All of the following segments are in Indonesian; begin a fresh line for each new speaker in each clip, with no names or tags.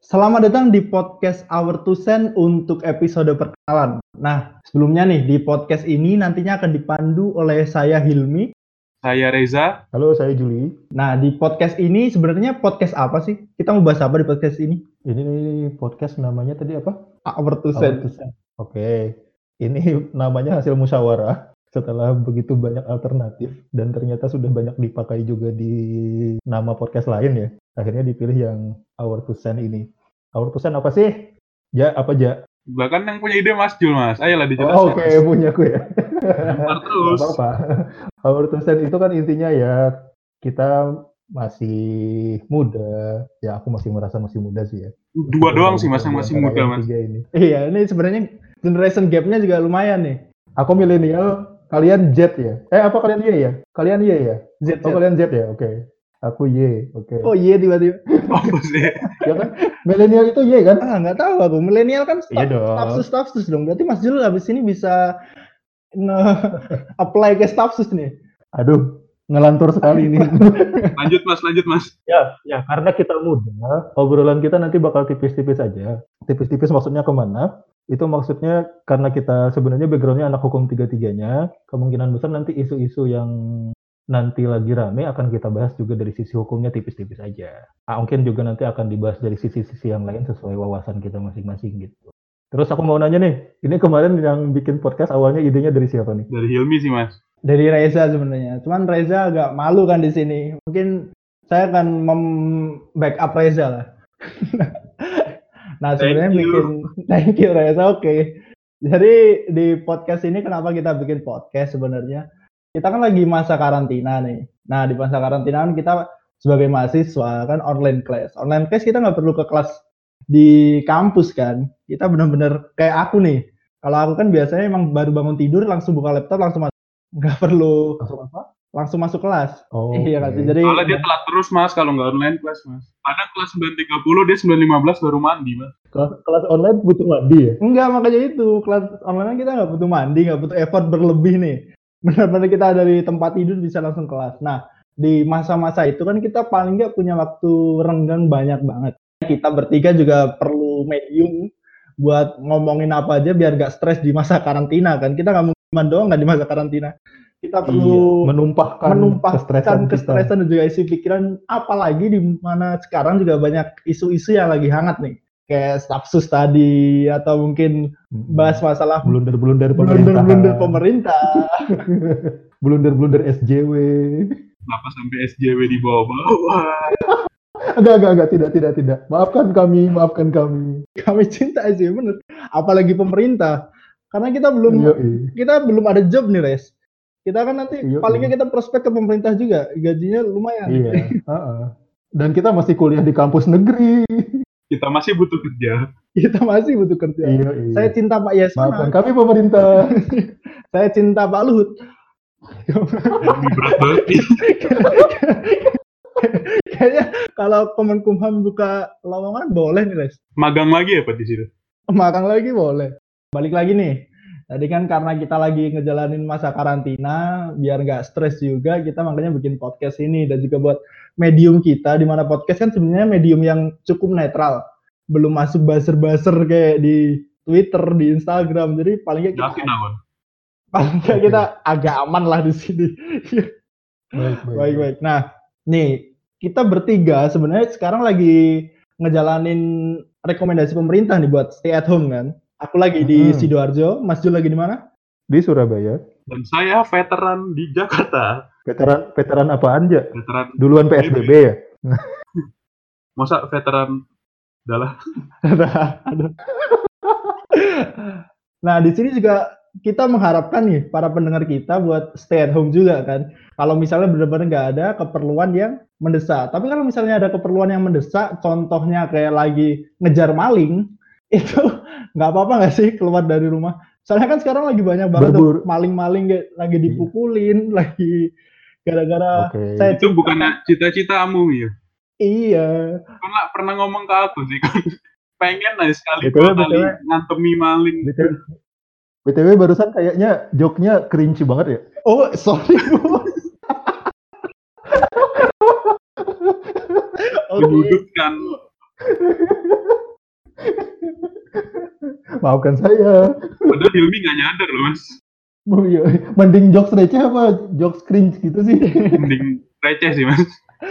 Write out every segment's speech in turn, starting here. Selamat datang di podcast Our Two Cent untuk episode perkenalan. Nah, sebelumnya nih di podcast ini nantinya akan dipandu oleh saya Hilmi.
Saya Reza.
Halo, saya Juli.
Nah, di podcast ini sebenarnya podcast apa sih? Kita mau bahas apa di podcast ini?
Ini podcast namanya tadi apa?
Our Two
Our
Cent.
Two Cent. Oke. Ini namanya hasil musyawarah setelah begitu banyak alternatif dan ternyata sudah banyak dipakai juga di nama podcast lain ya. Akhirnya dipilih yang Our to Send ini. Our to Send apa sih? Ya, apa ja?
Bahkan yang punya ide Mas Jul, Mas. Ayolah dijelasin.
Oh, Oke, punya aku ya.
Lempar terus.
Gak apa-apa. Our to Send itu kan intinya ya kita masih muda. Ya, aku masih merasa masih muda sih ya.
Dua doang sih, Mas, yang masih
Antara
muda,
yang
Mas.
tiga ini.
Iya, ini sebenarnya generation gap-nya juga lumayan nih.
Aku milenial, kalian Z ya? Eh apa kalian Y ya? Kalian Y ya?
Z,
Oh
Z.
kalian Z ya? Oke. Aku Y, oke.
Oh iya tiba-tiba.
Apa sih?
Ya kan? Milenial itu Y kan?
Ah, nggak tahu aku. Milenial kan
Iya
staff,
dong.
stafsus stafsus dong. Berarti Mas Jul habis ini bisa nge- apply ke stafsus nih.
Aduh, ngelantur sekali ini.
Lanjut, Mas. Lanjut, Mas.
ya, ya karena kita muda, obrolan kita nanti bakal tipis-tipis aja. Tipis-tipis maksudnya kemana? Itu maksudnya karena kita sebenarnya backgroundnya anak hukum tiga-tiganya, kemungkinan besar nanti isu-isu yang nanti lagi rame akan kita bahas juga dari sisi hukumnya tipis-tipis aja. Ah, mungkin juga nanti akan dibahas dari sisi-sisi yang lain sesuai wawasan kita masing-masing gitu. Terus aku mau nanya nih, ini kemarin yang bikin podcast awalnya idenya dari siapa nih?
Dari Hilmi sih, Mas.
Dari Reza sebenarnya. Cuman Reza agak malu kan di sini. Mungkin saya akan mem-backup Reza lah. nah,
Thank
sebenarnya
you.
bikin thank you Reza. Oke. Jadi di podcast ini kenapa kita bikin podcast sebenarnya? Kita kan lagi masa karantina nih. Nah, di masa karantina kan kita sebagai mahasiswa kan online class. Online class kita nggak perlu ke kelas di kampus kan. Kita bener-bener kayak aku nih. Kalau aku kan biasanya emang baru bangun tidur langsung buka laptop langsung masuk. Nggak perlu
Langsung apa?
langsung masuk kelas.
Oh,
Iya kan.
oke.
Jadi
Soalnya dia telat terus, Mas, kalau nggak online kelas, Mas. Kadang kelas 9.30, dia 9.15 baru mandi, Mas.
kelas, kelas online butuh mandi ya?
enggak makanya itu kelas online kita nggak butuh mandi, nggak butuh effort berlebih nih. Benar-benar kita dari tempat tidur bisa langsung kelas. Nah di masa-masa itu kan kita paling nggak punya waktu renggang banyak banget. Kita bertiga juga perlu medium buat ngomongin apa aja biar nggak stres di masa karantina kan. Kita nggak mungkin cuman doang nggak di masa karantina. Kita perlu
Iya, menumpahkan,
menumpahkan
kita.
kestresan dan juga isi pikiran apalagi di mana sekarang juga banyak isu-isu yang lagi hangat nih kayak stafsus tadi atau mungkin bahas masalah
blunder-blunder pemerintah.
blunder-blunder pemerintah
Blunder-blunder SJW.
Kenapa sampai SJW di bawah-bawah?
Enggak, enggak, enggak, tidak, tidak, tidak. Maafkan kami, maafkan kami.
kami cinta sih bener apalagi pemerintah karena kita belum
Yoi.
kita belum ada job nih res kita kan nanti
Iya,
palingnya kita prospek ke pemerintah juga gajinya lumayan
Iya. heeh. Dan kita masih kuliah di kampus negeri.
Kita masih butuh kerja.
kita masih butuh kerja
Iya,
saya cinta Pak Yasona
Maafkan kami pemerintah.
saya cinta Pak Luhut
Lebih berat banget. nih.
kayaknya kalau Kemenkumham buka lowongan boleh nih res
Magang lagi ya, Pak, di situ?
makan lagi boleh. Balik lagi nih. Tadi kan karena kita lagi ngejalanin masa karantina, biar nggak stres juga, kita makanya bikin podcast ini dan juga buat medium kita, di mana podcast kan sebenarnya medium yang cukup netral, belum masuk buzzer-buzzer kayak di Twitter, di Instagram, jadi paling nggak
Jelasin,
kita,
Abang.
paling nggak kita agak aman lah di sini.
Baik,
Baik, baik. Nah, nih kita bertiga sebenarnya sekarang lagi ngejalanin rekomendasi pemerintah nih buat stay at home kan. Aku lagi di
Mhm.
Sidoarjo, Mas Jul lagi di mana?
Di Surabaya,
Dan saya veteran di Jakarta.
veteran veteran apaan aja?
Veteran,
Duluan PSBB ya?
masa veteran adalah
Aduh. nah, di sini juga kita mengharapkan nih para pendengar kita buat stay at home juga kan. Kalau misalnya benar-benar nggak ada keperluan yang mendesak. Tapi kalau misalnya ada keperluan yang mendesak, contohnya kayak lagi ngejar maling, itu nggak apa-apa nggak sih keluar dari rumah. Soalnya kan sekarang lagi banyak banget tuh
Berburu.
maling-maling kayak lagi dipukulin, lagi gara-gara
Oke.
Ah, saya
itu bukannya cita-citamu ya?
iya.
pernah pernah ngomong ke aku sih kan pengen aja sekali
Betul,
dua kali
betul.
ngantemi maling
BTW, BTW barusan kayaknya joke-nya cringe banget ya?
Oh, sorry. Bu. Oke.
menyudutkan
Maafkan saya.
Padahal Hilmi nggak nyadar loh mas.
Bu, iya. Mending jokes receh apa jokes cringe gitu sih?
Mending receh sih mas.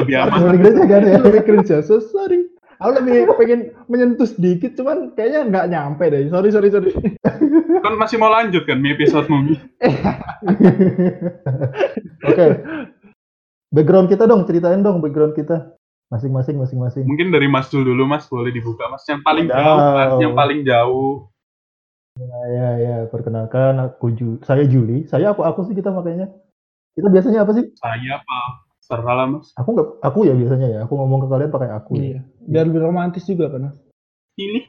Lebih aman.
Mending receh kan ya?
lebih cringe ya, so sorry. Aku lebih pengen menyentuh sedikit, cuman kayaknya nggak nyampe deh. Sorry, sorry, sorry.
Kan masih mau lanjut kan di episode mungkin.
Oke. Background kita dong, ceritain dong background kita. Masing-masing, masing-masing.
Mungkin dari Mas Jul dulu Mas boleh dibuka Mas. Yang paling
Wow.
jauh Mas, yang paling jauh.
Nah,
Iya,
ya, ya. Perkenalkan, aku Ju- saya Juli. Saya apa aku sih kita makanya? Kita biasanya apa sih?
Saya apa? Serah lah Mas.
Aku nggak, aku ya biasanya ya. Aku ngomong ke kalian pakai aku. ya.
Iya. Biar lebih romantis juga kan.
Ini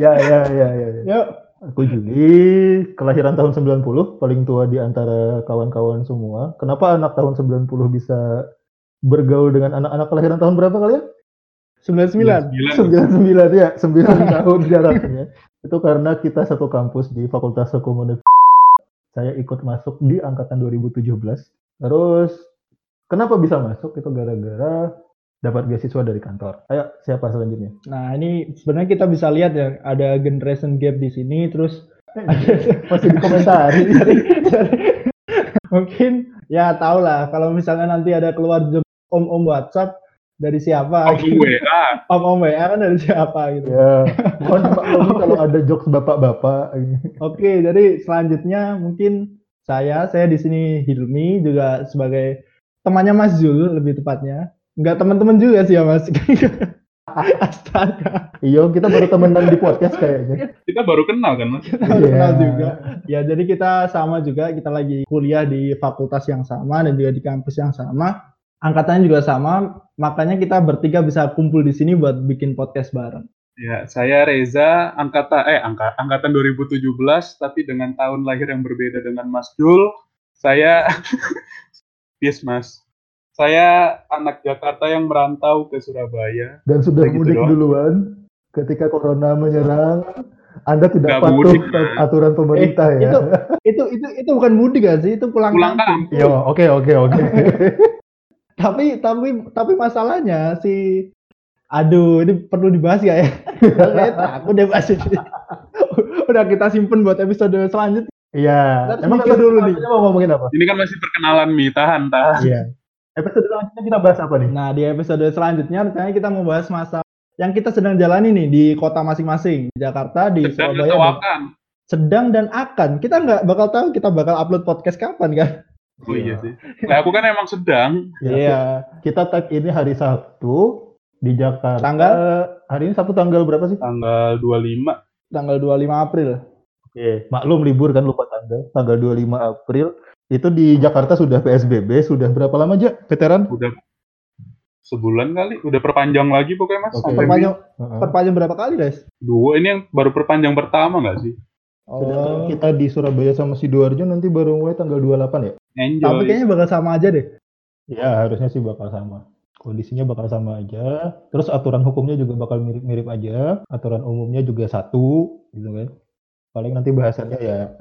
Ya, ya, ya, ya. ya.
Yuk.
Aku Juli, kelahiran tahun 90, paling tua di antara kawan-kawan semua. Kenapa anak tahun 90 bisa bergaul dengan anak-anak kelahiran tahun berapa kalian?
99.
9.
99 ya, 9 tahun jaraknya. Itu karena kita satu kampus di Fakultas Hukum Universitas. Saya ikut masuk di angkatan 2017. Terus kenapa bisa masuk? Itu gara-gara dapat beasiswa dari kantor. Ayo, siapa selanjutnya?
Nah, ini sebenarnya kita bisa lihat ya ada generation gap di sini terus
Masih di komentar.
mungkin ya tau lah kalau misalnya nanti ada keluar job om-om WhatsApp dari siapa
Om WA.
om-om WA kan dari siapa gitu.
ya, mohon maklumi kalau ada jokes bapak-bapak.
Oke, jadi selanjutnya mungkin saya saya di sini Hilmi juga sebagai temannya Mas Zul lebih tepatnya. Enggak teman-teman juga sih ya Mas. Astaga,
Iya, kita baru temenan di podcast kayaknya.
Kita baru kenal kan Mas.
kita baru kenal
Iya.
juga. Ya, jadi kita sama juga, kita lagi kuliah di fakultas yang sama dan juga di kampus yang sama. Angkatannya juga sama, makanya kita bertiga bisa kumpul di sini buat bikin podcast bareng.
Ya, saya Reza angkatan eh angka, angkatan 2017 tapi dengan tahun lahir yang berbeda dengan Mas Jul. Saya Yes, Mas. Saya anak Jakarta yang merantau ke Surabaya.
Dan sudah
Kayak gitu
mudik
doang.
duluan ketika corona menyerang. Anda tidak
Nggak
patuh
mudik, Mas.
aturan pemerintah
Eh,
ya.
itu itu itu itu bukan mudik gak sih? Itu pulang,
Pulang
kampung.
kampung.
Yo, Iya, oke oke oke.
tapi tapi tapi masalahnya si aduh ini perlu dibahas gak ya aku deh bahas ini udah kita simpen buat episode selanjutnya
Iya.
Kita harus mikir dulu nih.
selanjutnya mau ngomongin apa?
Ini kan masih perkenalan nih, tahan tahan.
Iya. Episode selanjutnya kita bahas apa nih?
nah di episode selanjutnya rencananya kita mau bahas masa yang kita sedang jalani nih di kota masing-masing di Jakarta di
Sedang
Iya, Surabaya
atau
dan-
akan?
sedang dan akan kita nggak bakal tahu kita bakal upload podcast kapan kan
Oh iya sih. Nah, aku kan emang sedang.
Iya. Kita tag ini hari Sabtu di Jakarta. Eh,
Tanggal?
Hari ini Sabtu tanggal berapa sih?
Tanggal 25.
tanggal 25 April
Oke. Maklum libur kan lupa tanggal. Tanggal 25 April itu di Jakarta sudah PSBB sudah berapa lama aja veteran?
Udah sebulan kali. Udah perpanjang lagi pokoknya, Mas.
Oke.
Sampai Mei.
perpanjang perpanjang berapa kali guys
Dua. Ini yang baru perpanjang pertama nggak sih? Iya,
Sedangkan
oh,
kita di Surabaya sama Sidoarjo nanti baru mulai tanggal 28 ya?
tapi
Enjoy.
kayaknya bakal sama aja deh
Ya harusnya sih bakal sama. Kondisinya bakal sama aja. Terus aturan hukumnya juga bakal mirip-mirip aja. Aturan umumnya juga satu gitu kan. Paling nanti bahasannya ya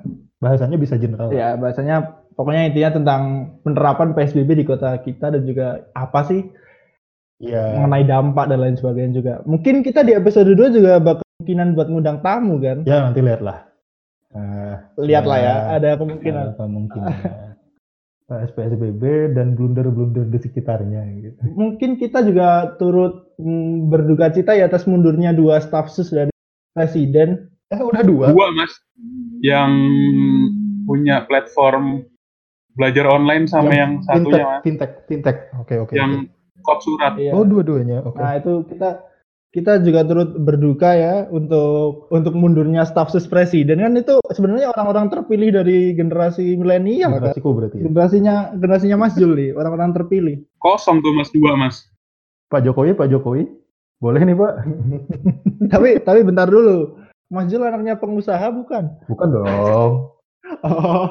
bahasannya bisa general.
Ya, bahasanya pokoknya intinya tentang penerapan PSBB di kota kita dan juga apa sih
Iya.
mengenai dampak dan lain sebagainya juga. Mungkin kita di episode 2 juga bakal kemungkinan buat ngundang tamu kan.
Ya nanti lihatlah. Nah,
Lihatlah
Iya.
ya,
Ya.
ada kemungkinan.
apa Nah, mungkin PSBB dan blunder-blunder di sekitarnya gitu.
Mungkin kita juga turut mm, berduka cita ya atas mundurnya dua staf sus dari presiden.
Eh udah dua.
Gua, Mas. Yang
Hmm.
punya platform belajar online sama yang, satunya, Mas.
fintech, fintech, fintech. Oke oke.
Yang
oke.
kop surat.
Iya.
Oh dua-duanya. Oke.
Nah, itu kita kita juga turut berduka ya untuk untuk mundurnya staf sus presiden kan itu sebenarnya orang-orang terpilih dari generasi milenial kan.
Generasiku berarti. ya.
generasinya generasinya Mas Jul nih orang-orang terpilih
Kosong tuh, Mas. Dua, Mas.
Pak Jokowi, Pak Jokowi. Boleh nih, Pak.
tapi tapi bentar dulu Mas Jul anaknya pengusaha bukan
Bukan dong.
oh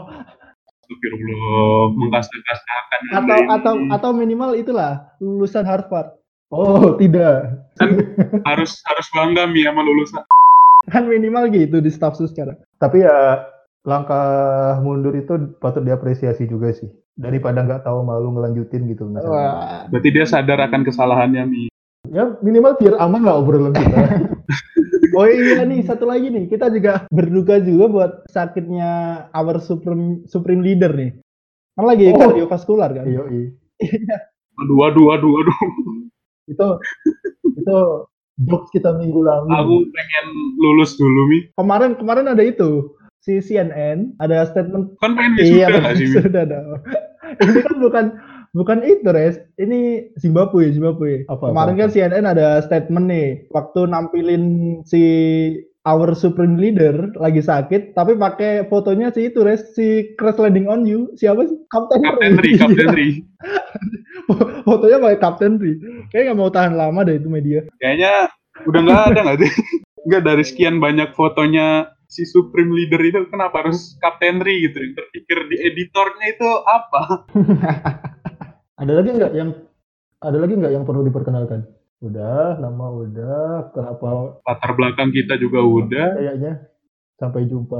Astagfirullah. Mengkas-kasakan.
atau atau atau minimal itulah lulusan Harvard
Oh, tidak.
harus harus bangga Mi sama lulusan
kan minimal gitu di staff sus sekarang
Tapi ya langkah mundur itu patut diapresiasi juga sih. Daripada nggak tahu malu ngelanjutin gitu. Mas.
wah
berarti dia sadar akan kesalahannya Mi
ya minimal biar aman lah obrolan kita.
Oh iya nih satu lagi nih kita juga berduka juga buat sakitnya our supreme supreme leader nih. Kan lagi
Oh.
kardiovaskular kan.
Iya, iya.
Aduh, aduh, aduh, aduh.
itu itu jokes kita minggu lalu.
Hmm.
Aku pengen lulus dulu, Mi.
Kemarin kemarin ada itu si CNN ada statement
Kan pengen
iya
wisuda nggak sih, Mi?
sudah dong. Ini kan bukan bukan itu res ini Zimbabwe Zimbabwe.
Apa,
kemarin
apa,
kan CNN ada statement nih waktu nampilin si our supreme leader lagi sakit tapi pakai fotonya si itu res si crash landing on you siapa sih Kapten Iya.
Kapten Ri, Kapten Ri.
fotonya pakai Captain Ri. Kayaknya nggak mau tahan lama deh itu media.
Kayaknya udah nggak ada nggak sih? Nggak dari sekian banyak fotonya si Supreme Leader itu kenapa harus Kapten Ri gitu? Yang terpikir di editornya itu apa?
Ada lagi nggak yang ada lagi nggak yang perlu diperkenalkan? Udah, lama udah. Kenapa
Latar belakang kita juga udah.
kayaknya sampai jumpa.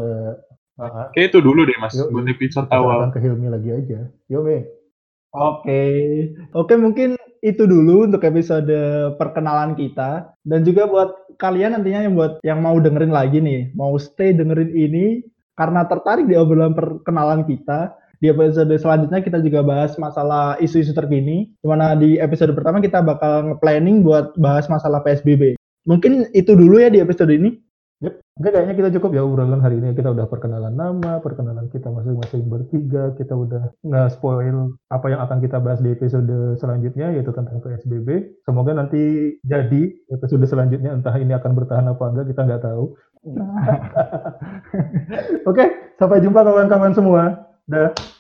Aa,
Kayak itu dulu deh mas,
Yuk,
buat
yuk.
episode
kita
awal.
akan ke Hilmi lagi aja. Yo Me,
Oke. Oke, mungkin itu dulu untuk episode perkenalan kita dan juga buat kalian nantinya yang buat yang mau dengerin lagi nih, mau stay dengerin ini karena tertarik di obrolan perkenalan kita. Di episode selanjutnya kita juga bahas masalah isu-isu terkini. Dimana di episode pertama kita bakal planning buat bahas masalah PSBB. Mungkin itu dulu ya di episode ini.
Oke, kayaknya kita cukup ya obrolan hari ini. Kita udah perkenalan nama, perkenalan kita masing-masing bertiga. Kita udah nggak spoil apa yang akan kita bahas di episode selanjutnya, yaitu tentang PSBB. Semoga nanti jadi episode selanjutnya. Entah ini akan bertahan apa enggak, kita nggak tahu. Oke, sampai jumpa kawan-kawan semua. Dah.